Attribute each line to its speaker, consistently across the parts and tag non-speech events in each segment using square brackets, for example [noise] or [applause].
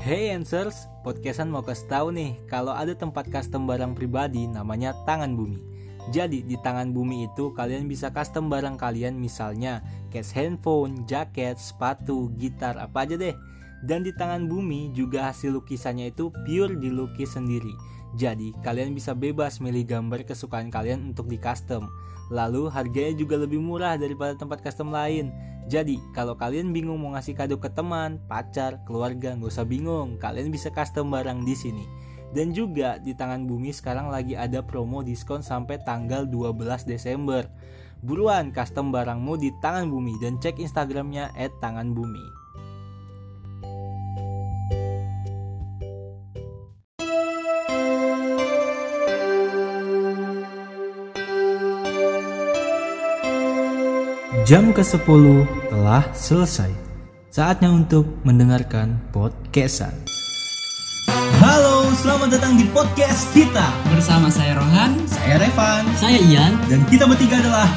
Speaker 1: Hey Answers, podcastan mau kasih tahu nih kalau ada tempat custom barang pribadi namanya Tangan Bumi. Jadi di Tangan Bumi itu kalian bisa custom barang kalian misalnya case handphone, jaket, sepatu, gitar, apa aja deh. Dan di Tangan Bumi juga hasil lukisannya itu pure dilukis sendiri. Jadi kalian bisa bebas milih gambar kesukaan kalian untuk di custom. Lalu harganya juga lebih murah daripada tempat custom lain. Jadi, kalau kalian bingung mau ngasih kado ke teman, pacar, keluarga, nggak usah bingung. Kalian bisa custom barang di sini. Dan juga di Tangan Bumi sekarang lagi ada promo diskon sampai tanggal 12 Desember. Buruan custom barangmu di Tangan Bumi dan cek Instagramnya @tanganbumi. Jam ke-10 telah selesai. Saatnya untuk mendengarkan podcastan. Halo, selamat datang di podcast kita.
Speaker 2: Bersama saya Rohan,
Speaker 1: Saya Revan
Speaker 2: saya Ian.
Speaker 1: dan kita bertiga adalah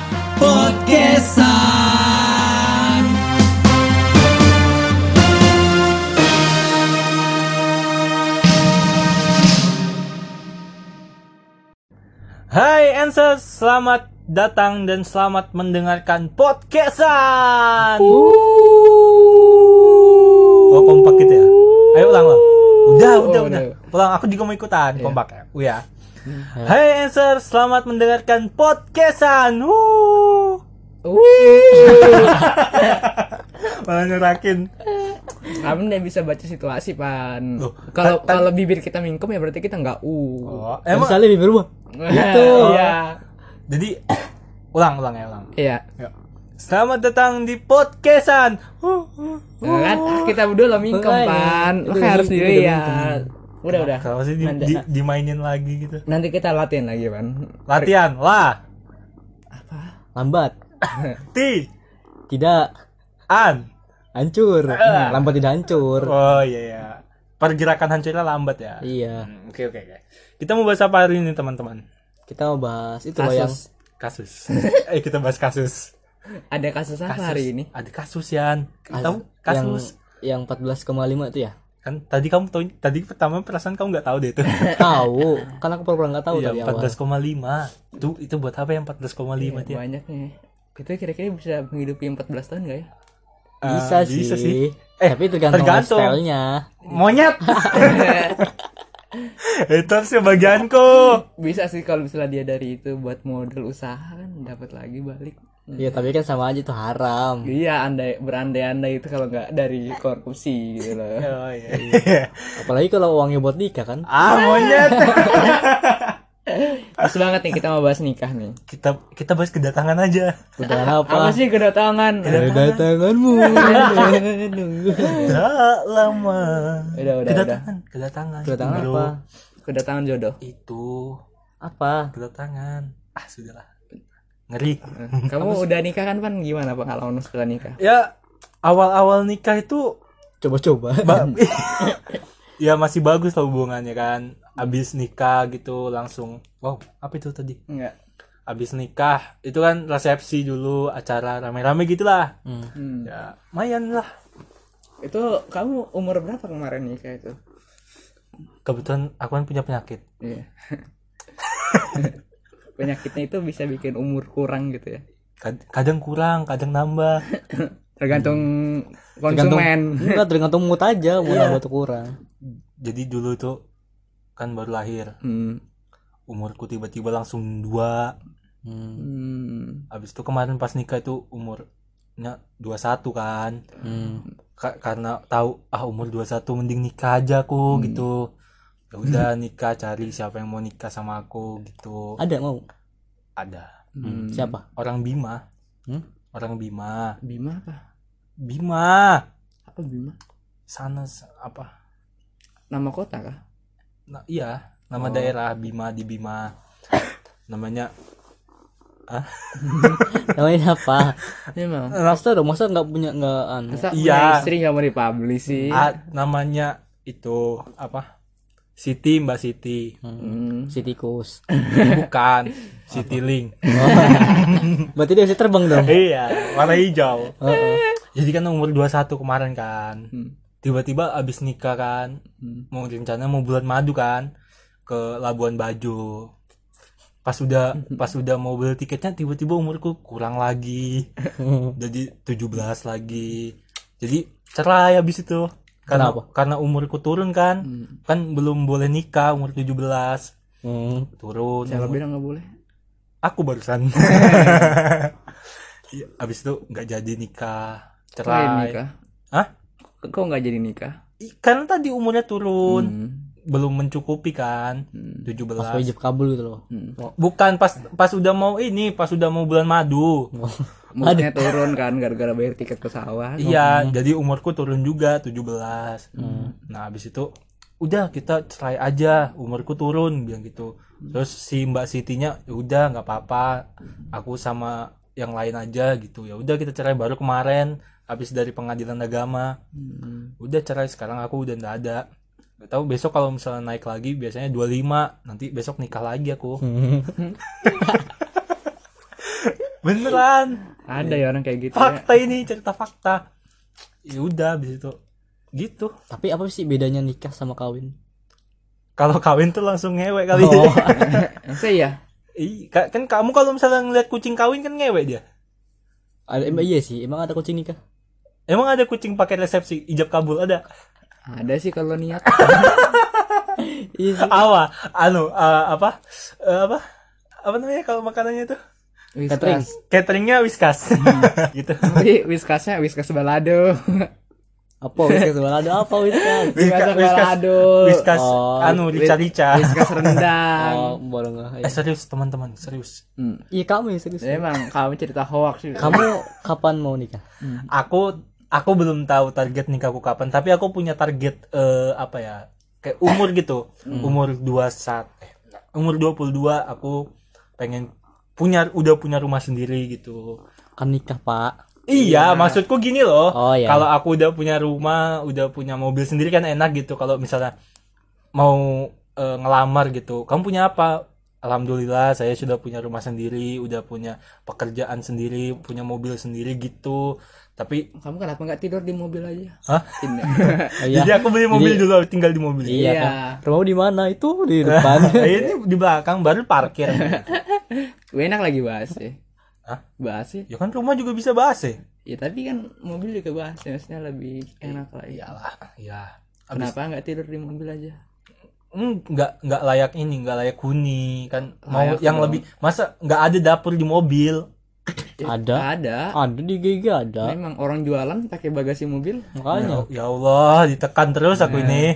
Speaker 1: podcastan. Hai Answers, selamat datang dan selamat mendengarkan podcastan. Oh kompak gitu ya? Ayo ulang ulang. Udah udah
Speaker 2: Oh,
Speaker 1: udah. Iya. Ulang aku juga mau ikutan kompak ya. Uya.
Speaker 2: Hmm.
Speaker 1: Hai Answer, selamat mendengarkan podcastan. Wuh. Malah nyerakin.
Speaker 2: Kamu udah bisa baca situasi pan.
Speaker 1: Loh,
Speaker 2: Kalau kalau bibir kita mingkem ya berarti kita nggak u. [laughs]
Speaker 1: Oh, emang
Speaker 3: bibir gua.
Speaker 2: Gitu. Iya.
Speaker 1: jadi [coughs] ulang ulang ya ulang.
Speaker 2: Iya.
Speaker 1: Yuk. Selamat datang di podcastan. Wuh, wuh.
Speaker 2: Nah, Kan kita berdua lo mingkem
Speaker 3: Makanya.
Speaker 2: pan. Lo
Speaker 3: Udah,
Speaker 2: kayak harus
Speaker 3: udah,
Speaker 2: diri
Speaker 3: udah
Speaker 2: ya. Udah udah.
Speaker 1: Kenapa sih di-
Speaker 2: Nanti-
Speaker 1: di- dimainin lagi gitu?
Speaker 2: Nanti kita latihan lagi pan.
Speaker 1: Latihan lah.
Speaker 3: Lambat.
Speaker 1: Ti
Speaker 3: Tidak
Speaker 1: an.
Speaker 3: hancur.
Speaker 1: Eh.
Speaker 3: Lambat tidak hancur.
Speaker 1: Oh iya ya. Pergerakan hancurnya lambat ya.
Speaker 3: Iya.
Speaker 1: Hmm, Oke oke oke. Kita mau bahas apa hari ini teman-teman?
Speaker 3: Kita mau bahas itu loh yang
Speaker 2: Kasus.
Speaker 1: Kasus. eh kita bahas kasus.
Speaker 2: Ada kasus apa
Speaker 1: Kasus.
Speaker 2: hari ini?
Speaker 1: Ada kasus Yan. Tahu kasus.
Speaker 3: yang yang 14,5 itu ya?
Speaker 1: Kan tadi kamu tahu tadi pertama perasaan kamu nggak tahu deh itu.
Speaker 3: Tahu. Kan aku pura-pura nggak tahu
Speaker 1: Iya,
Speaker 3: tadi awal.
Speaker 1: 14,5. Itu itu buat apa yang 14,5 Tian?
Speaker 2: Iya, Banyak nih. Kita kira-kira bisa menghidupi 14 tahun nggak ya?
Speaker 1: Ah,
Speaker 3: Bisa, sih.
Speaker 1: Bisa sih. Eh,
Speaker 3: Eh, tapi tergantung,
Speaker 1: tergantung.
Speaker 3: lifestyle-nya.
Speaker 1: Monyet. itu harusnya bagianku.
Speaker 2: Bisa sih kalau misalnya dia dari itu buat modal usaha kan dapat lagi balik.
Speaker 3: Iya, tapi kan sama aja itu haram.
Speaker 2: Iya, andai berandai-andai itu kalau nggak dari korupsi gitu loh.
Speaker 1: Oh iya.
Speaker 3: Apalagi kalau uangnya buat nikah kan.
Speaker 1: [laughs] ah, monyet. [laughs]
Speaker 2: Pas banget nih kita mau bahas nikah nih.
Speaker 1: kita kita bahas kedatangan aja.
Speaker 3: Kedatangan apa?
Speaker 2: Apa sih kedatangan?
Speaker 3: Kedatanganmu.
Speaker 1: Tak lama.
Speaker 2: Udah, udah,
Speaker 1: kedatangan, kedatangan.
Speaker 3: Kedatangan
Speaker 1: Bro.
Speaker 3: apa?
Speaker 2: Kedatangan jodoh.
Speaker 1: Itu
Speaker 3: Apa?
Speaker 1: kedatangan. Ah, sudahlah. Ngeri.
Speaker 2: Kamu udah nikah kan pan? Gimana pengalaman setelah nikah?
Speaker 1: Ya awal-awal nikah itu
Speaker 3: Coba-coba.
Speaker 1: Ba- [laughs] ya masih bagus lah hubungannya kan abis nikah gitu langsung wow apa itu tadi
Speaker 2: Enggak.
Speaker 1: abis nikah itu kan resepsi dulu acara rame-rame gitulah
Speaker 3: Hmm.
Speaker 2: Hmm.
Speaker 1: ya lumayan lah
Speaker 2: Itu kamu umur berapa kemarin nikah itu?
Speaker 1: kebetulan aku kan punya penyakit
Speaker 2: Iya. [laughs] Penyakitnya itu bisa bikin umur kurang gitu ya.
Speaker 1: Kad- kadang kurang kadang nambah
Speaker 2: Tergantung
Speaker 3: Tergantung-
Speaker 2: konsumen.
Speaker 3: Enggak tergantung mood aja, mau nambah atau kurang.
Speaker 1: jadi dulu tuh kan baru lahir
Speaker 2: Hmm.
Speaker 1: umurku tiba-tiba langsung dua
Speaker 3: Hmm.
Speaker 2: Hmm.
Speaker 1: abis itu kemarin pas nikah itu umurnya 21 kan
Speaker 3: Hmm.
Speaker 1: Ka- karena tahu ah umur 21 mending nikah aja
Speaker 3: Hmm.
Speaker 1: aku gitu ya udah nikah cari siapa yang mau nikah sama aku gitu
Speaker 3: Ada mau?
Speaker 1: ada
Speaker 2: Hmm.
Speaker 3: Siapa?
Speaker 1: orang Bima
Speaker 3: Hmm?
Speaker 1: orang Bima
Speaker 2: Bima apa?
Speaker 1: Bima
Speaker 2: Apa Bima?
Speaker 1: sana s- apa
Speaker 2: Nama kota kah?
Speaker 1: nah, iya nama
Speaker 3: Oh.
Speaker 1: daerah Bima di
Speaker 3: [coughs]
Speaker 1: Bima namanya
Speaker 3: Namanya apa?
Speaker 2: Memang.
Speaker 3: Master dong, masa nggak punya nggak anu?
Speaker 2: Masa
Speaker 1: Iya.
Speaker 2: punya istri gak mau dipublish sih?
Speaker 3: Iya.
Speaker 1: ah, namanya itu apa Siti Mbak Siti
Speaker 2: Hmm.
Speaker 3: Si tikus. Oh.
Speaker 1: bukan Siti Ling
Speaker 3: [laughs] Berarti dia bisa
Speaker 1: [laughs]
Speaker 3: terbang dong. Oh,
Speaker 1: iya warna hijau
Speaker 3: Heeh.
Speaker 1: jadi kan umur 21 kemarin kan
Speaker 2: Hmm.
Speaker 1: tiba-tiba abis nikah kan
Speaker 2: Hmm.
Speaker 1: mau rencana mau bulan madu kan ke Labuan Bajo pas udah pas udah mau beli tiketnya tiba-tiba umurku kurang lagi
Speaker 3: oh.
Speaker 1: jadi 17 lagi jadi cerai habis itu karena
Speaker 3: Kenapa?
Speaker 1: karena umurku turun kan
Speaker 2: Hmm.
Speaker 1: kan belum boleh nikah umur 17
Speaker 3: Hmm.
Speaker 1: turun
Speaker 2: Siapa
Speaker 1: umur-
Speaker 2: bilang nggak boleh?
Speaker 1: aku
Speaker 2: [laughs]
Speaker 1: barusan Iya, abis itu nggak jadi nikah
Speaker 2: Kok nggak jadi
Speaker 1: cerai
Speaker 2: nikah?
Speaker 1: Hah?
Speaker 2: Kok nggak jadi nikah?
Speaker 1: Ih, karena tadi umurnya turun
Speaker 2: Hmm.
Speaker 1: belum mencukupi kan
Speaker 2: Hmm.
Speaker 1: 17
Speaker 3: Pas wajib kabul gitu loh.
Speaker 2: Hmm.
Speaker 1: Bukan pas pas udah mau ini, pas udah mau bulan madu.
Speaker 2: Moodnya turun kan gara-gara bayar tiket pesawat.
Speaker 1: Iya, jadi umurku turun juga 17. Nah, habis itu udah kita cerai aja, umurku turun bilang gitu. Terus si Mbak Sitinya "Ya udah nggak apa-apa, aku sama yang lain aja gitu. Ya udah kita cerai baru kemarin habis dari pengadilan agama.
Speaker 2: Hmm.
Speaker 1: Udah cerai sekarang aku udah nggak ada. Gak tahu besok kalau misalnya naik lagi biasanya 25, nanti besok nikah lagi aku. Beneran.
Speaker 2: Ada
Speaker 3: Iya.
Speaker 2: ya orang kayak gitu ya. [laughs]
Speaker 1: fakta ini cerita fakta ya udah abis itu gitu
Speaker 3: Tapi apa sih bedanya nikah sama kawin?
Speaker 1: kalau kawin tuh langsung ngewek kali
Speaker 3: Oh.
Speaker 2: Masa iya?
Speaker 1: [laughs] Ih, ka- kan kamu kalau misalnya ngeliat kucing kawin kan ngewek dia
Speaker 3: Ada emang iya sih, emang ada kucing nikah.
Speaker 1: emang ada kucing pakai resepsi ijab kabul ada
Speaker 2: Ada sih kalau niat.
Speaker 3: [laughs] Iya sih.
Speaker 1: awa anu eh, apa Eh, apa apa namanya kalau makanannya itu
Speaker 3: Catering.
Speaker 2: Whiskas.
Speaker 1: cateringnya whiskas
Speaker 2: Hmm.
Speaker 1: [laughs] gitu
Speaker 2: Tapi Whiskasnya Whiskas
Speaker 3: [laughs]
Speaker 2: balado.
Speaker 3: Apa wis gitu ada apa wis kan?
Speaker 2: Whiskas balado.
Speaker 1: whiskas
Speaker 3: Oh.
Speaker 1: anu rica rica
Speaker 2: Whiskas rendang.
Speaker 3: Oh, bolong ah,
Speaker 1: eh
Speaker 3: iya.
Speaker 1: serius teman-teman serius
Speaker 2: Hmm.
Speaker 3: Iya kamu ya serius.
Speaker 2: Emang kamu cerita hoax sih.
Speaker 3: Kamu kapan mau nikah?
Speaker 1: aku aku belum tahu target nikahku kapan tapi aku punya target eh, apa ya kayak umur gitu
Speaker 3: Hmm.
Speaker 1: umur 21 eh, umur 22 aku pengen punya udah punya rumah sendiri gitu
Speaker 3: Kan nikah, Pak.
Speaker 1: iya maksudku gini loh
Speaker 3: Oh, iya.
Speaker 1: kalau aku udah punya rumah udah punya mobil sendiri kan enak gitu kalau misalnya mau eh, ngelamar gitu kamu punya apa Alhamdulillah saya sudah punya rumah sendiri, udah punya pekerjaan sendiri, punya mobil sendiri gitu. Tapi
Speaker 2: Kamu kenapa nggak tidur di mobil aja?
Speaker 1: Hah?
Speaker 2: [laughs] Tidak.
Speaker 3: Oh, iya.
Speaker 1: Jadi aku beli mobil
Speaker 3: Jadi-
Speaker 1: dulu tinggal di mobil. [laughs]
Speaker 3: Iya.
Speaker 2: Iya.
Speaker 3: Kan? Rumahmu di mana? Itu di [laughs] depan.
Speaker 1: Eh, ini di belakang baru parkir.
Speaker 2: Gue enak lagi bahas sih.
Speaker 1: Hah?
Speaker 2: Bahas sih.
Speaker 1: ya kan rumah juga bisa bahas ya.
Speaker 2: Ya tapi kan mobil juga bahas ya. Maksudnya lebih
Speaker 3: Iya.
Speaker 2: enak iya. lagi.
Speaker 1: Iyalah, ya. Abis,
Speaker 2: Kenapa nggak tidur di mobil aja?
Speaker 1: Hmm, nggak nggak layak ini, nggak layak huni kan. Mau
Speaker 2: Layak
Speaker 1: yang
Speaker 2: dong.
Speaker 1: lebih masa nggak ada dapur di mobil.
Speaker 3: Ada.
Speaker 2: Ada.
Speaker 3: Ada di GG ada.
Speaker 2: Memang orang jualan pakai bagasi
Speaker 3: [laughs]
Speaker 2: mobil.
Speaker 3: Makanya.
Speaker 1: Ya, ya Allah, ditekan terus aku ini.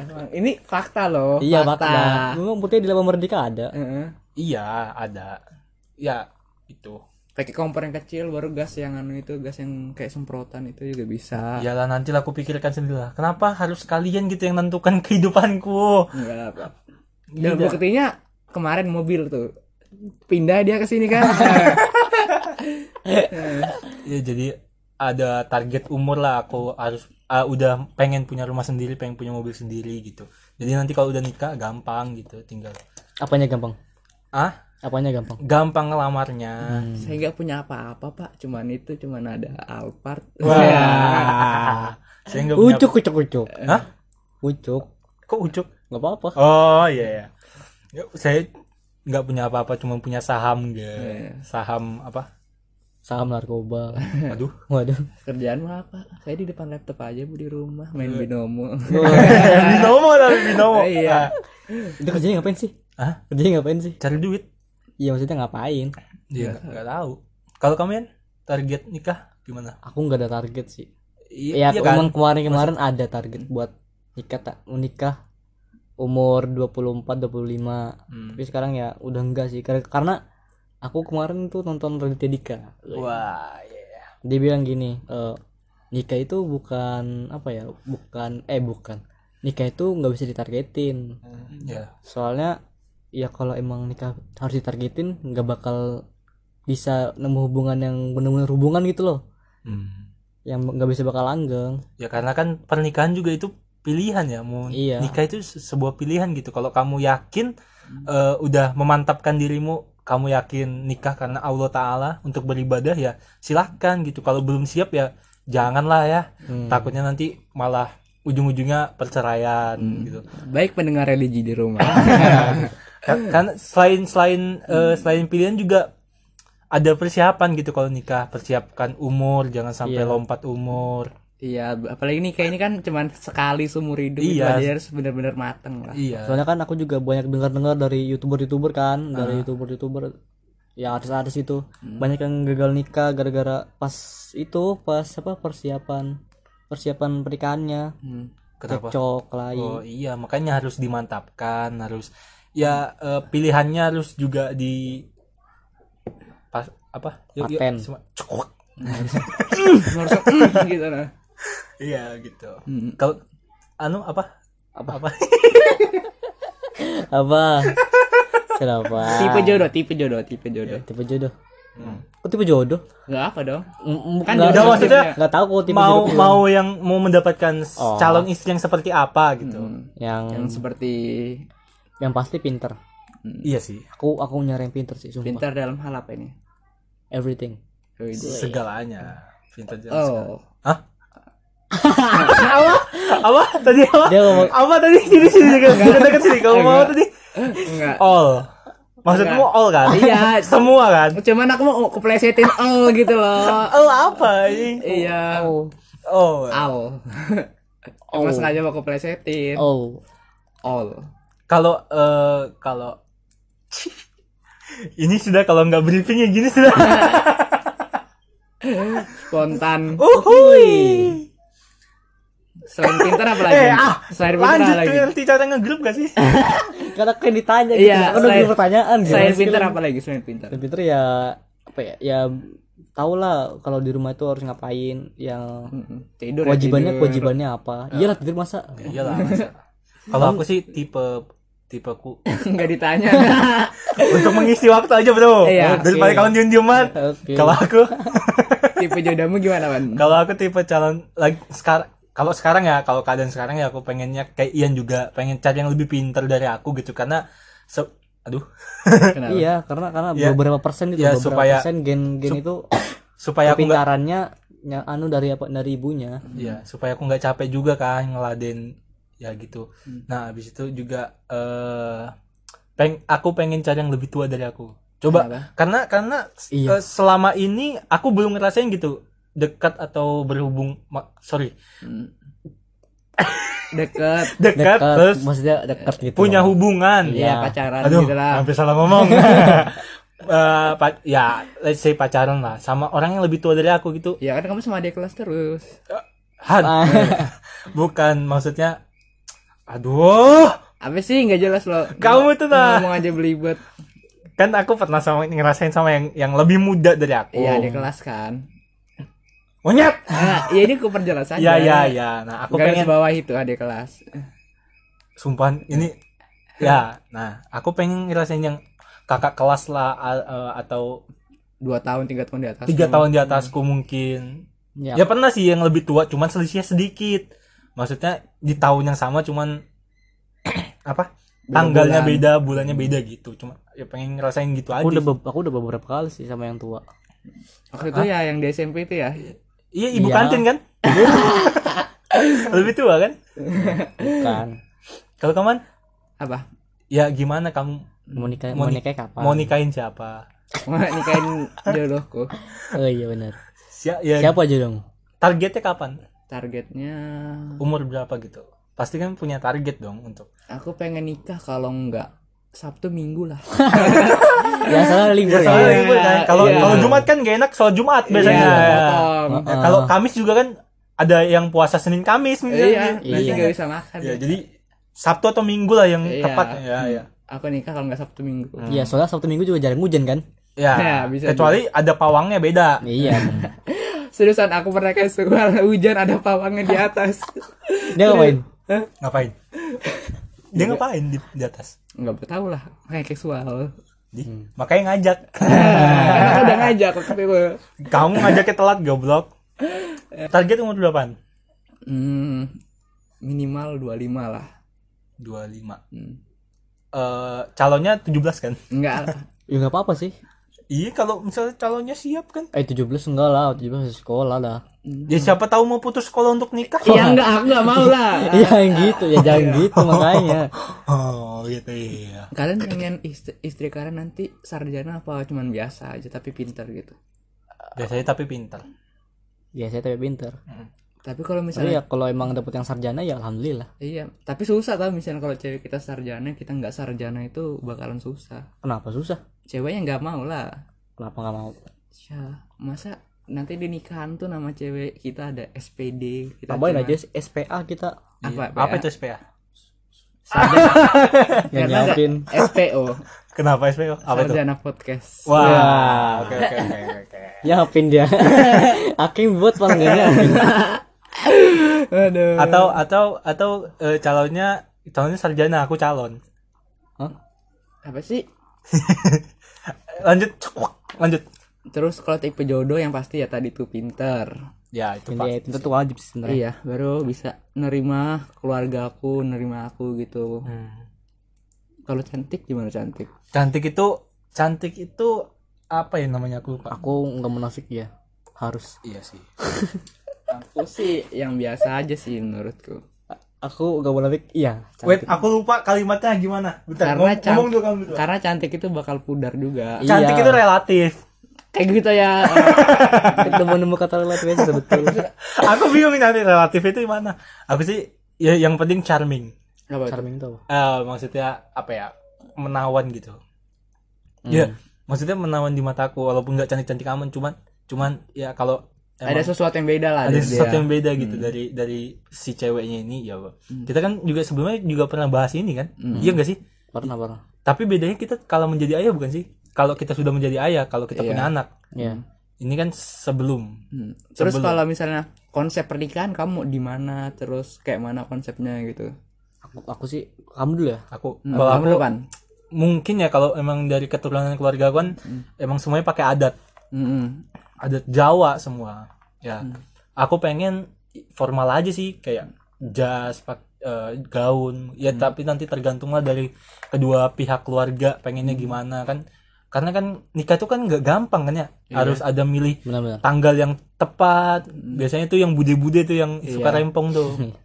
Speaker 2: Emang ini fakta loh.
Speaker 3: Iya, fakta. Memang putih di Lapangan Merdeka ada.
Speaker 2: Heeh.
Speaker 1: Iya, ada. Ya, itu.
Speaker 2: Pakai kompor yang kecil baru gas yang anu itu gas yang kayak semprotan itu juga bisa.
Speaker 1: Iyalah nanti lah aku pikirkan sendiri lah. Kenapa harus kalian gitu yang menentukan [laughs] kehidupanku? Gitu.
Speaker 2: Enggak apa.
Speaker 3: Iya.
Speaker 2: Dan buktinya kemarin mobil tuh pindah dia ke sini kan.
Speaker 3: [laughs]
Speaker 1: Ya jadi ada target umur lah aku harus ah, udah pengen punya rumah sendiri, pengen punya mobil sendiri gitu. Jadi nanti kalau udah nikah gampang gitu, tinggal
Speaker 3: Apanya gampang?
Speaker 1: ah
Speaker 3: Apanya gampang?
Speaker 1: gampang ngelamarnya.
Speaker 2: Saya nggak punya apa-apa pak, cuman itu cuman ada Alphard.
Speaker 1: Wah. Ah. Saya nggak punya-
Speaker 3: Ucuk, ucuk, ucuk.
Speaker 1: Hah?
Speaker 3: Ucuk.
Speaker 1: Kok ucuk?
Speaker 3: Gak apa-apa.
Speaker 1: Oh iya. iya. Ya, Saya nggak punya apa-apa, cuma punya saham gitu. Saham apa?
Speaker 3: Saham [laughs] narkoba.
Speaker 1: Aduh. [laughs]
Speaker 3: Waduh.
Speaker 2: Kerjaan mah apa? Saya di depan laptop aja bu di rumah main
Speaker 3: Iya.
Speaker 2: binomo.
Speaker 1: binomo tapi binomo.
Speaker 2: Iya.
Speaker 3: Itu kerjanya ngapain sih?
Speaker 1: Hah?
Speaker 3: Kerjanya ngapain sih?
Speaker 1: Cari duit.
Speaker 3: Iya maksudnya ngapain?
Speaker 1: Iya, nggak tahu. Kalau kalian target nikah gimana?
Speaker 3: Aku nggak ada target sih.
Speaker 1: Iya,
Speaker 3: Ya,
Speaker 1: iya
Speaker 3: aku
Speaker 1: kan?
Speaker 3: emang kemarin-kemarin ada target buat nikah tak menikah umur 24 25.
Speaker 1: Hmm.
Speaker 3: Tapi sekarang ya udah enggak sih Kar- karena aku kemarin tuh nonton Raditya Dika.
Speaker 1: Wah, iya.
Speaker 3: Dia bilang gini, eh, nikah itu bukan apa ya? Bukan eh bukan. Nikah itu nggak bisa ditargetin.
Speaker 1: Ya,
Speaker 3: Iya. Soalnya ya kalau emang nikah harus ditargetin nggak bakal bisa nemu hubungan yang benar-benar hubungan gitu loh. Yang nggak bisa bakal langgeng.
Speaker 1: Hmm. ya karena kan pernikahan juga itu pilihan ya mau
Speaker 3: Iya. Hmm.
Speaker 1: nikah itu se- sebuah pilihan gitu. Kalau kamu yakin eh, udah memantapkan dirimu, kamu yakin nikah karena Allah Taala untuk beribadah ya silahkan gitu. Kalau belum siap ya janganlah ya
Speaker 3: Hmm.
Speaker 1: takutnya nanti malah ujung-ujungnya perceraian
Speaker 3: Hmm.
Speaker 1: gitu
Speaker 2: [laughs] Baik pendengar religi di rumah.
Speaker 1: kan, kan selain selain
Speaker 3: Hmm.
Speaker 1: eh, selain pilihan juga ada persiapan gitu kalau nikah persiapkan umur jangan sampai
Speaker 3: Iya.
Speaker 1: lompat umur
Speaker 2: Iya, apalagi ini kayak ini kan cuman sekali seumur hidup itu
Speaker 1: Iya.
Speaker 2: aja harus benar-benar mateng lah.
Speaker 1: iya
Speaker 3: Soalnya kan aku juga banyak dengar-dengar dari youtuber-youtuber kan, dari youtuber-youtuber ya artis-artis itu banyak yang gagal nikah gara-gara pas itu pas apa persiapan persiapan pernikahannya
Speaker 2: Hmm.
Speaker 1: kenapa
Speaker 3: cocok lain
Speaker 1: oh iya makanya harus dimantapkan harus ya eh, pilihannya harus juga di pas apa
Speaker 3: Paten.
Speaker 1: semua- Cukup.
Speaker 2: Harus mm, gitu nah.
Speaker 1: iya gitu
Speaker 2: Hmm.
Speaker 1: kalau anu apa apa apa
Speaker 3: apa kenapa
Speaker 2: Tipe jodoh, tipe jodoh, tipe jodoh.
Speaker 3: Ya, tipe jodoh kok tipe jodoh
Speaker 1: Iya.
Speaker 2: Enggak apa dong?
Speaker 3: bukan
Speaker 2: Kan
Speaker 3: nggak
Speaker 2: jodoh
Speaker 1: maksudnya
Speaker 2: maksudnya.
Speaker 3: nggak tahu kok tipe
Speaker 1: mau
Speaker 3: jodoh
Speaker 1: mau yang mau mendapatkan s-
Speaker 3: Oh.
Speaker 1: calon istri yang seperti apa gitu
Speaker 2: Hmm.
Speaker 3: yang
Speaker 2: Yang seperti hmm,
Speaker 3: yang pasti pinter
Speaker 1: iya sih
Speaker 3: aku aku nyari yang pinter sih sumpah
Speaker 2: pintar dalam hal apa ini?
Speaker 3: everything
Speaker 2: Oh, ini.
Speaker 1: segalanya pintar jalan segala- [laughs]
Speaker 2: Oh.
Speaker 1: Hah? apa? Apa? Tadi apa?
Speaker 3: Dia ngomong-
Speaker 1: Apa tadi? Sini sini sini. Dekat dekat sini. Kamu mau
Speaker 2: Enggak.
Speaker 1: tadi?
Speaker 2: Enggak.
Speaker 1: All. Maksudmu all kan?
Speaker 2: Iya.
Speaker 1: [laughs] Semua kan?
Speaker 2: Cuman aku mau keplesetin all gitu loh.
Speaker 1: All Oh, apa ini?
Speaker 2: Iya.
Speaker 3: oh
Speaker 1: Oh.
Speaker 2: All. Emang sengaja mau keplesetin.
Speaker 3: oh
Speaker 2: All.
Speaker 1: Kalau eh kalau [laughs] ini sudah kalau nggak briefing ya gini sudah.
Speaker 2: Spontan.
Speaker 1: [laughs] Oh. Uhuy.
Speaker 2: Selain pintar apa lagi?
Speaker 1: Eh ah.
Speaker 2: Selain pintar
Speaker 1: Lanjut
Speaker 2: apa Iya. lagi?
Speaker 1: nanti cara ngegroup gak sih?
Speaker 3: karena kan ditanya gitu
Speaker 2: Iya,
Speaker 3: kan udah
Speaker 2: selain-
Speaker 3: pertanyaan gitu.
Speaker 2: Selain pintar apa lagi? Selain pintar.
Speaker 3: Selain pinter ya apa ya ya tau lah kalau di rumah itu harus ngapain yang
Speaker 2: Tidur. ya,
Speaker 3: kewajibannya
Speaker 2: tidur.
Speaker 3: kewajibannya apa
Speaker 1: Ah.
Speaker 3: iyalah tidur masa
Speaker 1: Iyalah. Kalau aku sih tipe tipeku
Speaker 2: Enggak
Speaker 1: [laughs]
Speaker 2: ditanya.
Speaker 1: untuk mengisi waktu aja bro Ya,
Speaker 2: Iya,
Speaker 1: daripada
Speaker 3: oke.
Speaker 1: kalian diem dieman
Speaker 3: Oke.
Speaker 1: kalau aku [laughs]
Speaker 2: Tipe jodohmu gimana, Wan?
Speaker 1: kalau aku tipe calon lagi sekarang kalau sekarang ya kalau keadaan sekarang ya aku pengennya kayak Ian juga pengen cari yang lebih pinter dari aku gitu karena se- aduh
Speaker 2: Kenapa?
Speaker 3: iya karena karena
Speaker 1: Iya.
Speaker 3: beberapa persen gitu
Speaker 1: Iya,
Speaker 3: beberapa
Speaker 1: supaya-
Speaker 3: persen gen gen itu
Speaker 1: supaya aku nggak
Speaker 3: kepintarannya nya- anu dari apa dari ibunya
Speaker 1: ya supaya aku nggak capek juga kan ngeladen ya gitu nah habis itu juga eh peng aku pengen cari yang lebih tua dari aku coba
Speaker 2: Kenapa?
Speaker 1: karena karena eh,
Speaker 3: Iya.
Speaker 1: selama ini aku belum ngerasain gitu dekat atau berhubung ma- sorry
Speaker 2: Hmm. Deket.
Speaker 1: dekat terus
Speaker 3: maksudnya dekat gitu
Speaker 1: punya
Speaker 3: loh.
Speaker 1: hubungan Ya.
Speaker 2: Iya,
Speaker 3: Iya.
Speaker 2: pacaran
Speaker 1: aduh
Speaker 2: gitu lah.
Speaker 1: hampir salah ngomong Eh, pa- ya let's say pacaran lah sama orang yang lebih tua dari aku gitu
Speaker 2: Ya kan kamu sama dia kelas terus.
Speaker 1: Han
Speaker 3: Ah.
Speaker 1: bukan maksudnya aduh
Speaker 2: Apa sih nggak jelas lo?
Speaker 1: Kamu tuh, nah.
Speaker 2: Ngomong aja belibet.
Speaker 1: kan aku pernah sama ngerasain sama yang yang lebih muda dari aku
Speaker 2: Iya, dia kelas kan.
Speaker 1: monyet
Speaker 2: Nah, ya ini aku perjelas aja.
Speaker 1: ya ya ya nah aku
Speaker 2: Garis
Speaker 1: pengen
Speaker 2: bawah itu adik kelas.
Speaker 1: sumpah ini ya nah aku pengen ngerasain yang kakak kelas lah a- eh, atau
Speaker 2: Dua tahun, tiga tahun di atas.
Speaker 1: tiga tahun di atasku mungkin
Speaker 3: ya,
Speaker 1: Ya pernah sih yang lebih tua, cuman selisihnya sedikit. Maksudnya di tahun yang sama cuman [clears throat] apa?
Speaker 2: Beda
Speaker 1: Tanggalnya
Speaker 2: bulan.
Speaker 1: beda, bulannya beda gitu. Cuma ya pengen ngerasain gitu aja.
Speaker 3: aku udah
Speaker 1: sih.
Speaker 3: be- aku udah beberapa kali sih sama yang tua
Speaker 2: Waktu itu ya yang di SMP itu ya.
Speaker 1: Iya, ibu
Speaker 3: Iya.
Speaker 1: kantin kan? lebih tua kan?
Speaker 3: bukan
Speaker 1: Kalau kaman,
Speaker 2: Apa?
Speaker 1: ya gimana kamu
Speaker 3: mau nikah
Speaker 1: Mau
Speaker 3: mau
Speaker 1: ni-
Speaker 3: nikah kapan
Speaker 1: mau nikahin siapa?
Speaker 2: Mau nikahin jodohku.
Speaker 3: oh iya benar
Speaker 1: Si- ya,
Speaker 3: siapa aja dong
Speaker 1: Targetnya kapan?
Speaker 2: Targetnya
Speaker 1: Umur berapa gitu? Pasti kan punya target dong untuk.
Speaker 2: aku pengen nikah kalau enggak Sabtu Minggu
Speaker 1: [laughs]
Speaker 2: lah.
Speaker 3: ya soalnya
Speaker 1: Ya,
Speaker 3: libur ya,
Speaker 1: soalnya libur kan. Kalau
Speaker 2: iya.
Speaker 1: kalau Jumat kan gak enak soal Jumat biasanya.
Speaker 2: Iya,
Speaker 1: Ya.
Speaker 2: potong.
Speaker 1: Ya, kalau Kamis juga kan ada yang puasa Senin Kamis
Speaker 2: Iya,
Speaker 1: misalnya.
Speaker 2: nanti
Speaker 3: Iya.
Speaker 2: nggak bisa makan.
Speaker 1: Ya, jadi Sabtu atau Minggu lah yang
Speaker 2: Iya.
Speaker 1: tepat. Ya, ya.
Speaker 2: Aku nikah kalau nggak Sabtu Minggu.
Speaker 1: Ah.
Speaker 3: Iya, soalnya Sabtu Minggu juga jarang hujan kan?
Speaker 1: Ya,
Speaker 2: Ya, bisa
Speaker 1: kecuali ada pawangnya beda.
Speaker 3: Iya.
Speaker 2: Seriusan aku pernah kayak suara [laughs] hujan ada pawangnya di atas.
Speaker 3: Dia ngapain?
Speaker 1: Ngapain? [laughs] Dia ngapain di, di atas?
Speaker 2: Nggak tahu lah, kayak
Speaker 1: Ah.
Speaker 2: seksual.
Speaker 1: Di,
Speaker 2: Hmm.
Speaker 1: Makanya
Speaker 2: [laughs]
Speaker 1: ngajak.
Speaker 2: Karena aku udah ngajak waktu itu.
Speaker 1: Kamu ngajaknya telat goblok. Target umur berapaan?
Speaker 2: Hmm, minimal 25 lah.
Speaker 1: 25.
Speaker 2: Hmm.
Speaker 1: Eh, calonnya 17 kan?
Speaker 2: Enggak lah.
Speaker 3: Ya enggak apa-apa sih.
Speaker 1: Iya, kalau misalnya calonnya siap kan.
Speaker 3: Eh 17 enggak lah, 17 masih sekolah dah.
Speaker 1: Ya siapa tahu mau putus sekolah untuk nikah.
Speaker 2: Iya
Speaker 1: [laughs]
Speaker 2: enggak, aku enggak mau lah.
Speaker 1: Iya.
Speaker 3: [laughs] ya gitu ya jangan gitu makanya
Speaker 1: Oh gitu iya.
Speaker 2: Kalian pengen istri, istri kalian nanti sarjana apa cuman biasa aja tapi pintar gitu.
Speaker 1: Biasanya tapi pintar.
Speaker 2: Iya.
Speaker 3: biasanya Ya, tapi pinter
Speaker 2: Tapi kalau
Speaker 3: tapi
Speaker 2: misalnya
Speaker 3: ya kalau emang dapet yang sarjana ya alhamdulillah
Speaker 2: iya, tapi susah tau misalnya kalau cewek kita sarjana, kita nggak sarjana itu bakalan susah.
Speaker 3: kenapa susah
Speaker 2: Ceweknya nggak mau lah.
Speaker 3: kenapa nggak mau
Speaker 2: Ya, masa nanti di nikahan tuh nama cewek kita ada SPD kita
Speaker 3: tambahin
Speaker 2: cuman-
Speaker 3: aja SPA [laughs] kita
Speaker 2: apa
Speaker 1: Iya.
Speaker 2: ya?
Speaker 1: Apa itu SPA?
Speaker 3: nggak
Speaker 2: Karena ada
Speaker 3: Ya, nyiapin
Speaker 2: SPO
Speaker 1: Kenapa SPA? [laughs] Apa itu?
Speaker 2: sarjana podcast
Speaker 1: Wah, oke oke oke oke.
Speaker 3: Ya, nyiapin [laughs] dia Aking buat paling nggak [laughs] nyiapin
Speaker 2: aduh
Speaker 1: [laughs] Atau atau atau eh, calonnya calonnya sarjana, aku [laughs] calon.
Speaker 3: Hah?
Speaker 2: apa sih
Speaker 1: Lanjut, lanjut.
Speaker 2: terus kalau tipe jodoh yang pasti ya tadi tuh pinter
Speaker 1: Ya itu
Speaker 3: Ini ya, itu tuh wajib sih sebenarnya
Speaker 2: iya baru bisa nerima keluarga aku nerima aku gitu
Speaker 1: Hmm.
Speaker 2: kalau cantik gimana cantik
Speaker 1: Cantik itu cantik itu apa ya namanya aku lupa.
Speaker 3: aku nggak munafik ya harus
Speaker 1: Iya sih.
Speaker 2: aku sih yang biasa aja sih menurutku
Speaker 3: aku nggak munafik iya [laughs]
Speaker 1: Wait, aku lupa kalimatnya gimana. Bentar,
Speaker 2: karena
Speaker 1: ngom-
Speaker 2: can-
Speaker 1: ngomong dulu kamu dulu.
Speaker 2: karena cantik itu bakal pudar juga
Speaker 3: Iya.
Speaker 1: Cantik itu relatif. [laughs]
Speaker 2: kayak gitu ya
Speaker 3: ketemu nemu kata relatif aja betul
Speaker 1: Aku bingung nanti relatif itu mana. Aku sih ya yang penting charming.
Speaker 2: Apa tuh?
Speaker 3: charming tuh apa?
Speaker 1: Eh, maksudnya apa ya? Menawan gitu. Ya,
Speaker 2: Hmm.
Speaker 1: maksudnya menawan di mataku walaupun nggak cantik-cantik aman cuman cuman ya kalau
Speaker 2: ada
Speaker 1: emang
Speaker 2: sesuatu yang beda Hmm. lah
Speaker 1: ada
Speaker 2: dari
Speaker 1: sesuatu
Speaker 2: dia.
Speaker 1: yang beda gitu dari dari si ceweknya ini ya. Bang.
Speaker 2: Hmm.
Speaker 1: Kita kan juga sebelumnya juga pernah bahas ini kan. Iya nggak sih?
Speaker 3: pernah pernah
Speaker 1: Tapi bedanya kita kalau menjadi ayah bukan sih? Kalau kita sudah menjadi ayah, kalau kita punya anak.
Speaker 3: Iya.
Speaker 1: Ini kan sebelum.
Speaker 2: Hmm. Terus kalau misalnya konsep pernikahan kamu di mana, terus kayak mana konsepnya gitu.
Speaker 3: aku aku sih kamu dulu ya
Speaker 1: Aku
Speaker 2: Hmm,
Speaker 1: kalau
Speaker 2: kamu
Speaker 1: aku
Speaker 2: depan.
Speaker 1: mungkin ya kalau emang dari keturunan keluarga aku kan
Speaker 3: Hmm.
Speaker 1: emang semuanya pakai adat.
Speaker 2: Mm-mm.
Speaker 1: Adat Jawa semua. Ya.
Speaker 3: Hmm.
Speaker 1: Aku pengen formal aja sih kayak jas, pak- eh, gaun. Ya
Speaker 3: Hmm.
Speaker 1: tapi nanti tergantunglah dari kedua pihak keluarga pengennya
Speaker 3: Hmm.
Speaker 1: gimana kan. Karena kan nikah itu kan nggak gampang kan ya.
Speaker 3: Iya.
Speaker 1: Harus ada milih
Speaker 3: benar-benar
Speaker 1: tanggal yang tepat
Speaker 3: Hmm.
Speaker 1: biasanya tuh yang bude-bude tuh yang suka rempong tuh
Speaker 3: [laughs]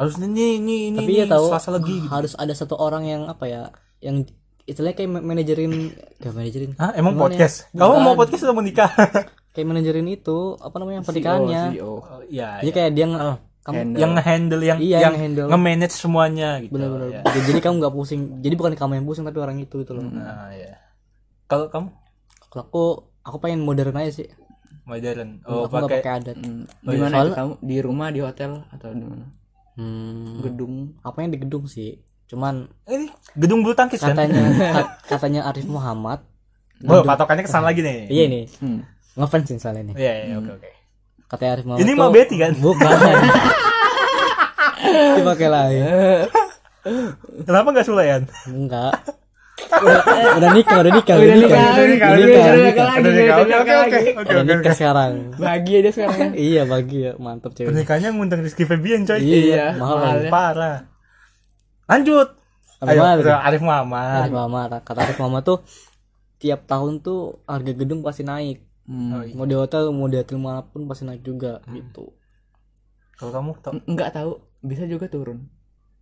Speaker 1: harus ini ini ini
Speaker 3: Iya. tapi
Speaker 1: ini,
Speaker 3: ya tahu
Speaker 1: selasa lagi gitu.
Speaker 3: harus ada satu orang yang apa ya yang istilahnya kayak ma- manajerin kayak manajerin
Speaker 1: Hah, emang
Speaker 3: Gimana ya?
Speaker 1: podcast kamu mau podcast atau mau nikah
Speaker 3: kayak manajerin itu apa namanya
Speaker 2: CEO,
Speaker 3: pernikahannya
Speaker 2: CEO.
Speaker 1: Oh, ya,
Speaker 3: jadi
Speaker 2: iya,
Speaker 1: ya.
Speaker 3: kayak dia nge- oh, kamu
Speaker 2: E Handle.
Speaker 1: yang handle yang
Speaker 3: Iya,
Speaker 1: yang
Speaker 3: nge-handle.
Speaker 1: nge-manage semuanya gitu
Speaker 3: benar-benar
Speaker 1: ya.
Speaker 3: jadi jadi kamu nggak pusing jadi bukan kamu yang pusing tapi orang itu gitu loh
Speaker 1: Nah, ya. kalau kamu
Speaker 3: kalau aku aku pengen modern aja sih
Speaker 1: modern oh
Speaker 3: aku nggak
Speaker 1: pakai
Speaker 3: pakai adat
Speaker 2: Hmm.
Speaker 1: Oh,
Speaker 2: Di
Speaker 1: iya.
Speaker 2: mana
Speaker 3: Soalnya-
Speaker 2: itu kamu? Di rumah, di hotel atau di mana?
Speaker 3: hmm,
Speaker 2: Gedung.
Speaker 3: apa yang di gedung sih cuman
Speaker 1: ini gedung bulu tangkis kan [laughs]
Speaker 3: katanya kat- katanya Arif Muhammad
Speaker 1: oh patokannya kesana lagi nih
Speaker 3: iya nih
Speaker 2: Hmm.
Speaker 3: ngefans nih soalnya nih
Speaker 1: iya iya, oke oke
Speaker 3: katanya Arif Muhammad
Speaker 1: ini
Speaker 3: tuh-
Speaker 1: mau Betty kan
Speaker 3: bukan dipakai lain
Speaker 1: kenapa nggak sulayan
Speaker 3: enggak udah, udah nikah udah nikah
Speaker 2: Udah nikah,
Speaker 3: udah nikah udah nikah,
Speaker 2: udah
Speaker 3: udah
Speaker 2: nikah [laughs] lagi, udah nikah
Speaker 1: oke oke
Speaker 2: lagi.
Speaker 1: oke, oke oke
Speaker 3: nikah sekarang
Speaker 2: Bahagia dia
Speaker 3: [laughs]
Speaker 2: sekarang.
Speaker 3: iya bagi ya mantap cewek
Speaker 1: pernikahannya ngundang Rizky Febian coy
Speaker 2: Iya,
Speaker 3: iya mahal
Speaker 2: mahal.
Speaker 3: mahal
Speaker 2: Ya.
Speaker 1: parah lanjut
Speaker 3: Arif Muhammad.
Speaker 1: udah, Arif Muhammad
Speaker 3: Arif Muhammad Ah, kata Arif Muhammad tuh tiap tahun tuh harga gedung pasti naik
Speaker 2: Hmm.
Speaker 1: Oh, iya.
Speaker 3: mau di hotel mau di hotel manapun pasti naik juga gitu
Speaker 1: kalau kamu tau
Speaker 2: Enggak tahu, bisa juga turun.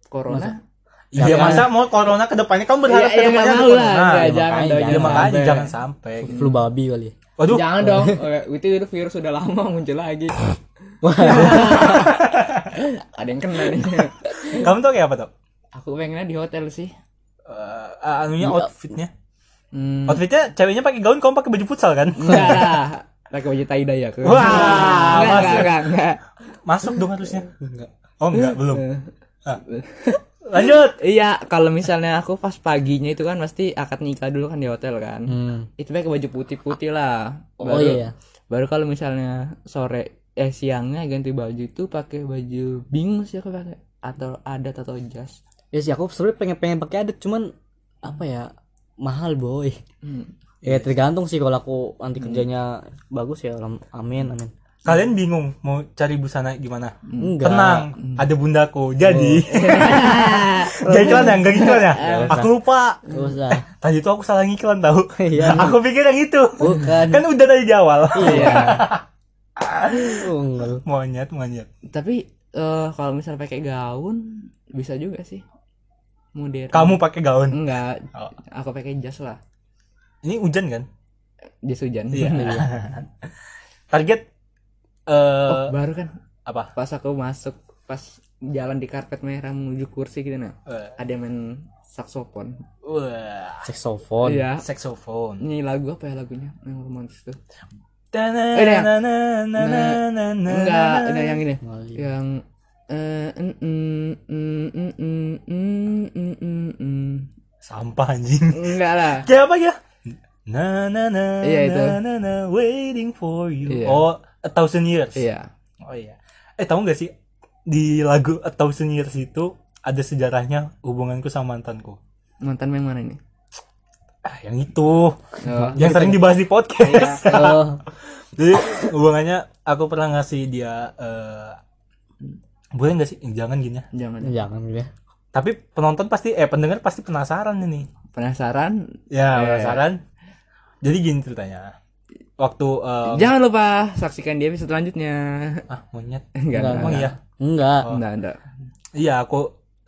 Speaker 2: Corona?
Speaker 1: iya masa mau corona kedepannya kamu
Speaker 2: Iya,
Speaker 1: berharap
Speaker 2: iya nggak
Speaker 1: kedepannya ada
Speaker 2: mau lah.
Speaker 1: corona
Speaker 2: Nggak,
Speaker 1: ya,
Speaker 2: jangan
Speaker 3: makanya
Speaker 2: dong.
Speaker 1: makanya, makanya
Speaker 2: sampai.
Speaker 1: jangan sampai gitu.
Speaker 3: flu babi kali [laughs] ya.
Speaker 1: waduh
Speaker 2: Jangan
Speaker 1: [laughs]
Speaker 2: dong. Eh, Itu itu virus sudah lama muncul lagi. Ada yang kena nih.
Speaker 1: kamu tau kayak apa tau
Speaker 2: Aku pengennya di hotel sih.
Speaker 1: Eh, anunya outfitnya
Speaker 2: Hmm.
Speaker 1: outfitnya ceweknya pakai gaun kamu pakai baju futsal kan
Speaker 2: Enggak lah. Pakai baju tie dye aku.
Speaker 1: Wah,
Speaker 2: enggak,
Speaker 1: masuk.
Speaker 2: enggak, enggak, enggak.
Speaker 1: masuk dong harusnya oh enggak belum
Speaker 2: Eh.
Speaker 1: Ah. lanjut
Speaker 2: Iya, kalau misalnya aku pas paginya itu kan pasti akad nikah dulu kan di hotel kan.
Speaker 3: Hmm.
Speaker 2: Itu pakai baju putih-putih lah.
Speaker 3: oh iya
Speaker 2: Baru kalau misalnya sore eh siangnya ganti baju itu pakai baju bingung sih aku pakai atau adat atau jas.
Speaker 3: ya sih aku sebenarnya pengen pengen pakai adat cuman apa ya mahal boy
Speaker 2: Hmm.
Speaker 3: ya tergantung sih kalau aku nanti kerjanya bagus ya alam- amin amin
Speaker 1: kalian bingung mau cari busana gimana
Speaker 3: enggak Hmm.
Speaker 1: tenang ada bundaku jadi
Speaker 3: Oh.
Speaker 1: [laughs] jadi iklan ya enggak iklan ya aku lupa
Speaker 3: Gak usah
Speaker 1: tadi tuh aku salah [laughs] ngiklan tahu
Speaker 3: Iya.
Speaker 1: aku pikir yang itu
Speaker 3: bukan
Speaker 2: Iya. [laughs]
Speaker 1: kan udah tadi di awal
Speaker 3: iya Unggul.
Speaker 1: [laughs] monyet monyet
Speaker 2: tapi eh, kalau misal pakai gaun bisa juga sih modern
Speaker 1: kamu pakai gaun
Speaker 2: enggak
Speaker 1: Oh.
Speaker 2: aku pakai jas lah
Speaker 1: ini hujan kan
Speaker 2: jas hujan
Speaker 1: [laughs] iya target eh
Speaker 2: Oh, baru kan
Speaker 1: apa
Speaker 2: pas aku masuk pas jalan di karpet merah menuju kursi gitu nah
Speaker 3: Oh.
Speaker 1: Eh,
Speaker 2: ada yang main saksofon
Speaker 1: wah Oh,
Speaker 3: Saxophone.
Speaker 2: iya
Speaker 1: saxophone
Speaker 2: ini lagu apa ya lagunya yang romantis tuh
Speaker 1: Tanana, nanana,
Speaker 2: enggak ada yang ini
Speaker 3: Oh, iya.
Speaker 2: yang eh, mm, mm, mm, mm, mm, mm, mm, mm, mm.
Speaker 1: sampah anjing
Speaker 2: enggak lah
Speaker 1: kayak apa ya na na na
Speaker 2: Iya, itu.
Speaker 1: na na na waiting for you
Speaker 2: Iya.
Speaker 1: oh a thousand years
Speaker 2: iya
Speaker 1: oh iya eh tahu nggak sih di lagu a thousand years itu ada sejarahnya hubunganku sama mantanku
Speaker 2: mantan yang mana ini
Speaker 1: ah yang itu
Speaker 2: Oh,
Speaker 1: yang sering dibahas di podcast
Speaker 2: iya.
Speaker 3: Oh,
Speaker 1: [laughs] jadi hubungannya aku pernah ngasih dia eh boleh nggak sih jangan gini ya
Speaker 2: jangan
Speaker 3: jangan ya.
Speaker 1: tapi penonton pasti eh pendengar pasti penasaran ini
Speaker 2: penasaran
Speaker 1: ya
Speaker 2: Eh.
Speaker 1: penasaran jadi gini ceritanya waktu eh,
Speaker 2: jangan lupa saksikan di episode selanjutnya [laughs]
Speaker 1: ah monyet
Speaker 3: Enggak,
Speaker 2: enggak
Speaker 1: emang
Speaker 2: enggak
Speaker 1: iya
Speaker 3: Enggak.
Speaker 1: Oh.
Speaker 2: enggak enggak
Speaker 1: Iya aku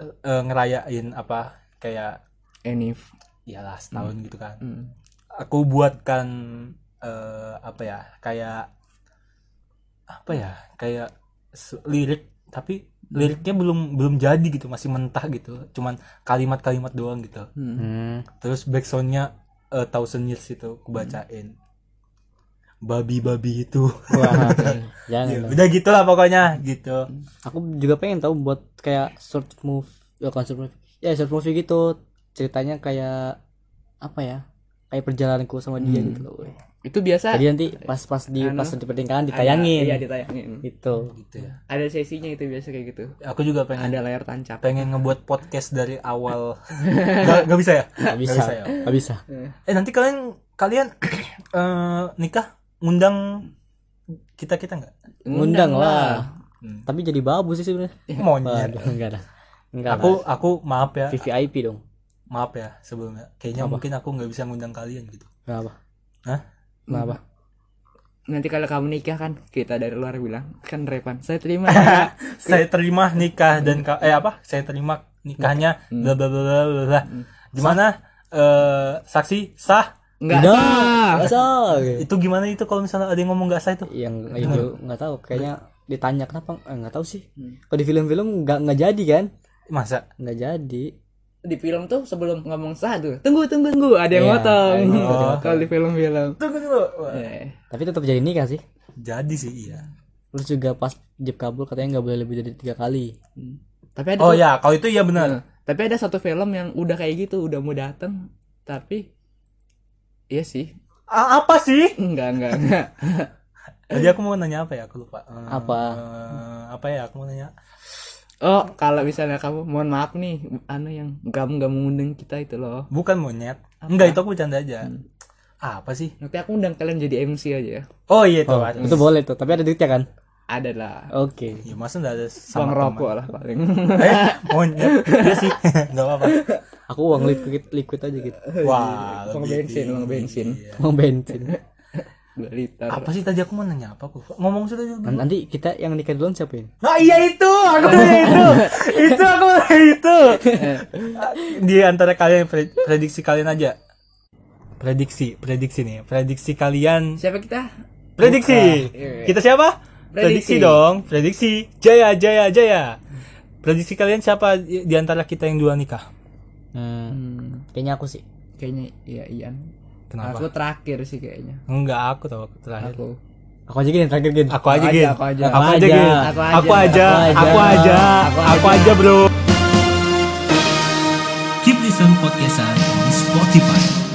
Speaker 1: eh, eh, ngerayain apa kayak
Speaker 2: Enif
Speaker 1: iyalah setahun gitu kan.
Speaker 2: Mm.
Speaker 1: Aku buatkan eh, apa ya kayak apa ya kayak se- lirik tapi liriknya belum belum jadi gitu masih mentah gitu cuman kalimat-kalimat doang gitu
Speaker 2: Hmm.
Speaker 3: Hmm.
Speaker 1: terus backsoundnya eh, thousand years itu aku bacain babi-babi itu
Speaker 3: Wah,
Speaker 1: Ya,
Speaker 3: jangan.
Speaker 1: udah gitulah pokoknya gitu
Speaker 3: Aku juga pengen tahu buat kayak short movie, ya, bukan short movie. Ya, short movie gitu. Ceritanya kayak apa ya? Kayak perjalananku sama dia
Speaker 2: Hmm.
Speaker 3: gitu loh. weh.
Speaker 2: itu biasa
Speaker 3: Jadi nanti pas-pas di
Speaker 2: Anu.
Speaker 3: pas di pernikahan ditayangin.
Speaker 2: Ada- iya ditayangin
Speaker 3: Gitu.
Speaker 1: gitu ya
Speaker 2: ada sesinya itu biasa kayak gitu
Speaker 1: aku juga pengen
Speaker 2: ada layar tancap
Speaker 1: pengen ngebuat podcast dari awal nggak nggak bisa ya
Speaker 3: Gak bisa.
Speaker 1: bisa ya?
Speaker 3: Gak bisa.
Speaker 1: eh nanti kalian kalian [clears throat] eh, nikah ngundang kita kita nggak
Speaker 3: Ngundang lah.
Speaker 1: Hmm.
Speaker 3: Tapi jadi babu sih sebenarnya.
Speaker 1: monyet
Speaker 3: Waduh, enggak ada. Enggak.
Speaker 1: aku aku maaf ya
Speaker 3: lah. VVIP dong.
Speaker 1: maaf ya sebelumnya kayaknya
Speaker 3: Apa?
Speaker 1: mungkin aku nggak bisa ngundang kalian gitu
Speaker 3: Kenapa?
Speaker 1: Hah?
Speaker 3: Kenapa?
Speaker 2: Hmm. nanti kalau kamu nikah kan kita dari luar bilang kan repan saya
Speaker 3: [laughs]
Speaker 2: terima
Speaker 1: saya terima nikah dan ka- eh apa saya terima nikahnya bla bla bla bla bla, bla. gimana eh saksi sah
Speaker 2: enggak
Speaker 3: Tidak.
Speaker 2: sah.
Speaker 3: Masa?
Speaker 1: itu gimana itu kalau misalnya ada yang ngomong nggak sah itu
Speaker 3: Yang itu nggak iya, tahu kayaknya ditanya kenapa eh, nggak tahu sih. Kalau di film-film nggak nggak jadi kan?
Speaker 1: masa
Speaker 3: Nggak jadi.
Speaker 2: di film tuh sebelum ngomong sah tuh tunggu tunggu tunggu ada yang
Speaker 3: Iya,
Speaker 2: motong
Speaker 3: ada yang
Speaker 1: motong.
Speaker 2: [laughs] kalau di film-film
Speaker 1: tunggu dulu Wah,
Speaker 2: Eh,
Speaker 3: Tapi tetap jadi nikah sih.
Speaker 1: jadi sih iya
Speaker 3: Terus juga pas jeb kabul katanya nggak boleh lebih dari tiga kali.
Speaker 2: Hmm. tapi ada
Speaker 1: oh
Speaker 2: satu-
Speaker 1: ya kalau itu iya benar
Speaker 2: Nah, tapi ada satu film yang udah kayak gitu udah mau dateng tapi iya sih
Speaker 1: A- apa sih
Speaker 2: enggak enggak enggak
Speaker 1: Tadi aku mau nanya apa ya? Aku lupa. Eh,
Speaker 3: Apa?
Speaker 1: eh, apa ya? Aku mau nanya.
Speaker 2: oh kalau misalnya kamu mohon maaf nih anu yang kamu nggak mengundang kita itu loh
Speaker 1: Bukan monyet.
Speaker 2: Apa?
Speaker 1: Enggak, itu aku bercanda aja. Apa sih?
Speaker 2: Nanti aku undang kalian jadi MC aja.
Speaker 1: Oh iya itu.
Speaker 3: Oh,
Speaker 1: ada.
Speaker 3: itu boleh tuh. Tapi ada duitnya kan?
Speaker 2: Ada lah.
Speaker 3: Oke.
Speaker 1: Ya masa enggak ada
Speaker 2: Bang
Speaker 1: sama
Speaker 2: rokok lah
Speaker 1: [laughs]
Speaker 2: paling.
Speaker 1: teman? Eh, monyet. Iya sih. [laughs] Enggak apa-apa.
Speaker 3: Aku uang liquid liquid aja gitu.
Speaker 1: Wah,
Speaker 2: Uang
Speaker 1: lebih
Speaker 2: bensin,
Speaker 1: tinggi.
Speaker 2: uang bensin.
Speaker 1: Iya.
Speaker 3: Uang bensin.
Speaker 2: 2 liter.
Speaker 1: Apa sih tadi aku mau nanya apa? Aku lupa. ngomong sudah dulu.
Speaker 3: Nan- Nanti kita yang nikah duluan siapa ini?
Speaker 1: Nah, iya itu. Aku mau nanya itu. itu aku mau nanya itu. Di antara kalian pre- prediksi kalian aja. Prediksi, prediksi nih. Prediksi kalian
Speaker 2: Siapa kita?
Speaker 1: Prediksi. Kita siapa? Prediksi.
Speaker 2: Prediksi.
Speaker 1: dong. Prediksi. Jaya, jaya, jaya. Prediksi kalian siapa di di antara kita yang dua nikah?
Speaker 3: Hmm.
Speaker 2: Hmm,
Speaker 3: Kayaknya aku sih.
Speaker 2: kayaknya iya Ian.
Speaker 1: Kenapa? Iya.
Speaker 2: Aku terakhir sih kayaknya.
Speaker 1: Enggak, aku tahu aku terakhir.
Speaker 2: Aku.
Speaker 3: Aku aja gini terakhir gini.
Speaker 1: Aku aja,
Speaker 2: Aku aja,
Speaker 1: Gin.
Speaker 2: aku aja.
Speaker 1: Aku aja,
Speaker 3: Aku
Speaker 1: Gin. Aku
Speaker 3: aja.
Speaker 1: aja, aku
Speaker 3: Aku
Speaker 1: aja,
Speaker 3: aja.
Speaker 1: aku aja, bro. Keep listen podcastan on Spotify.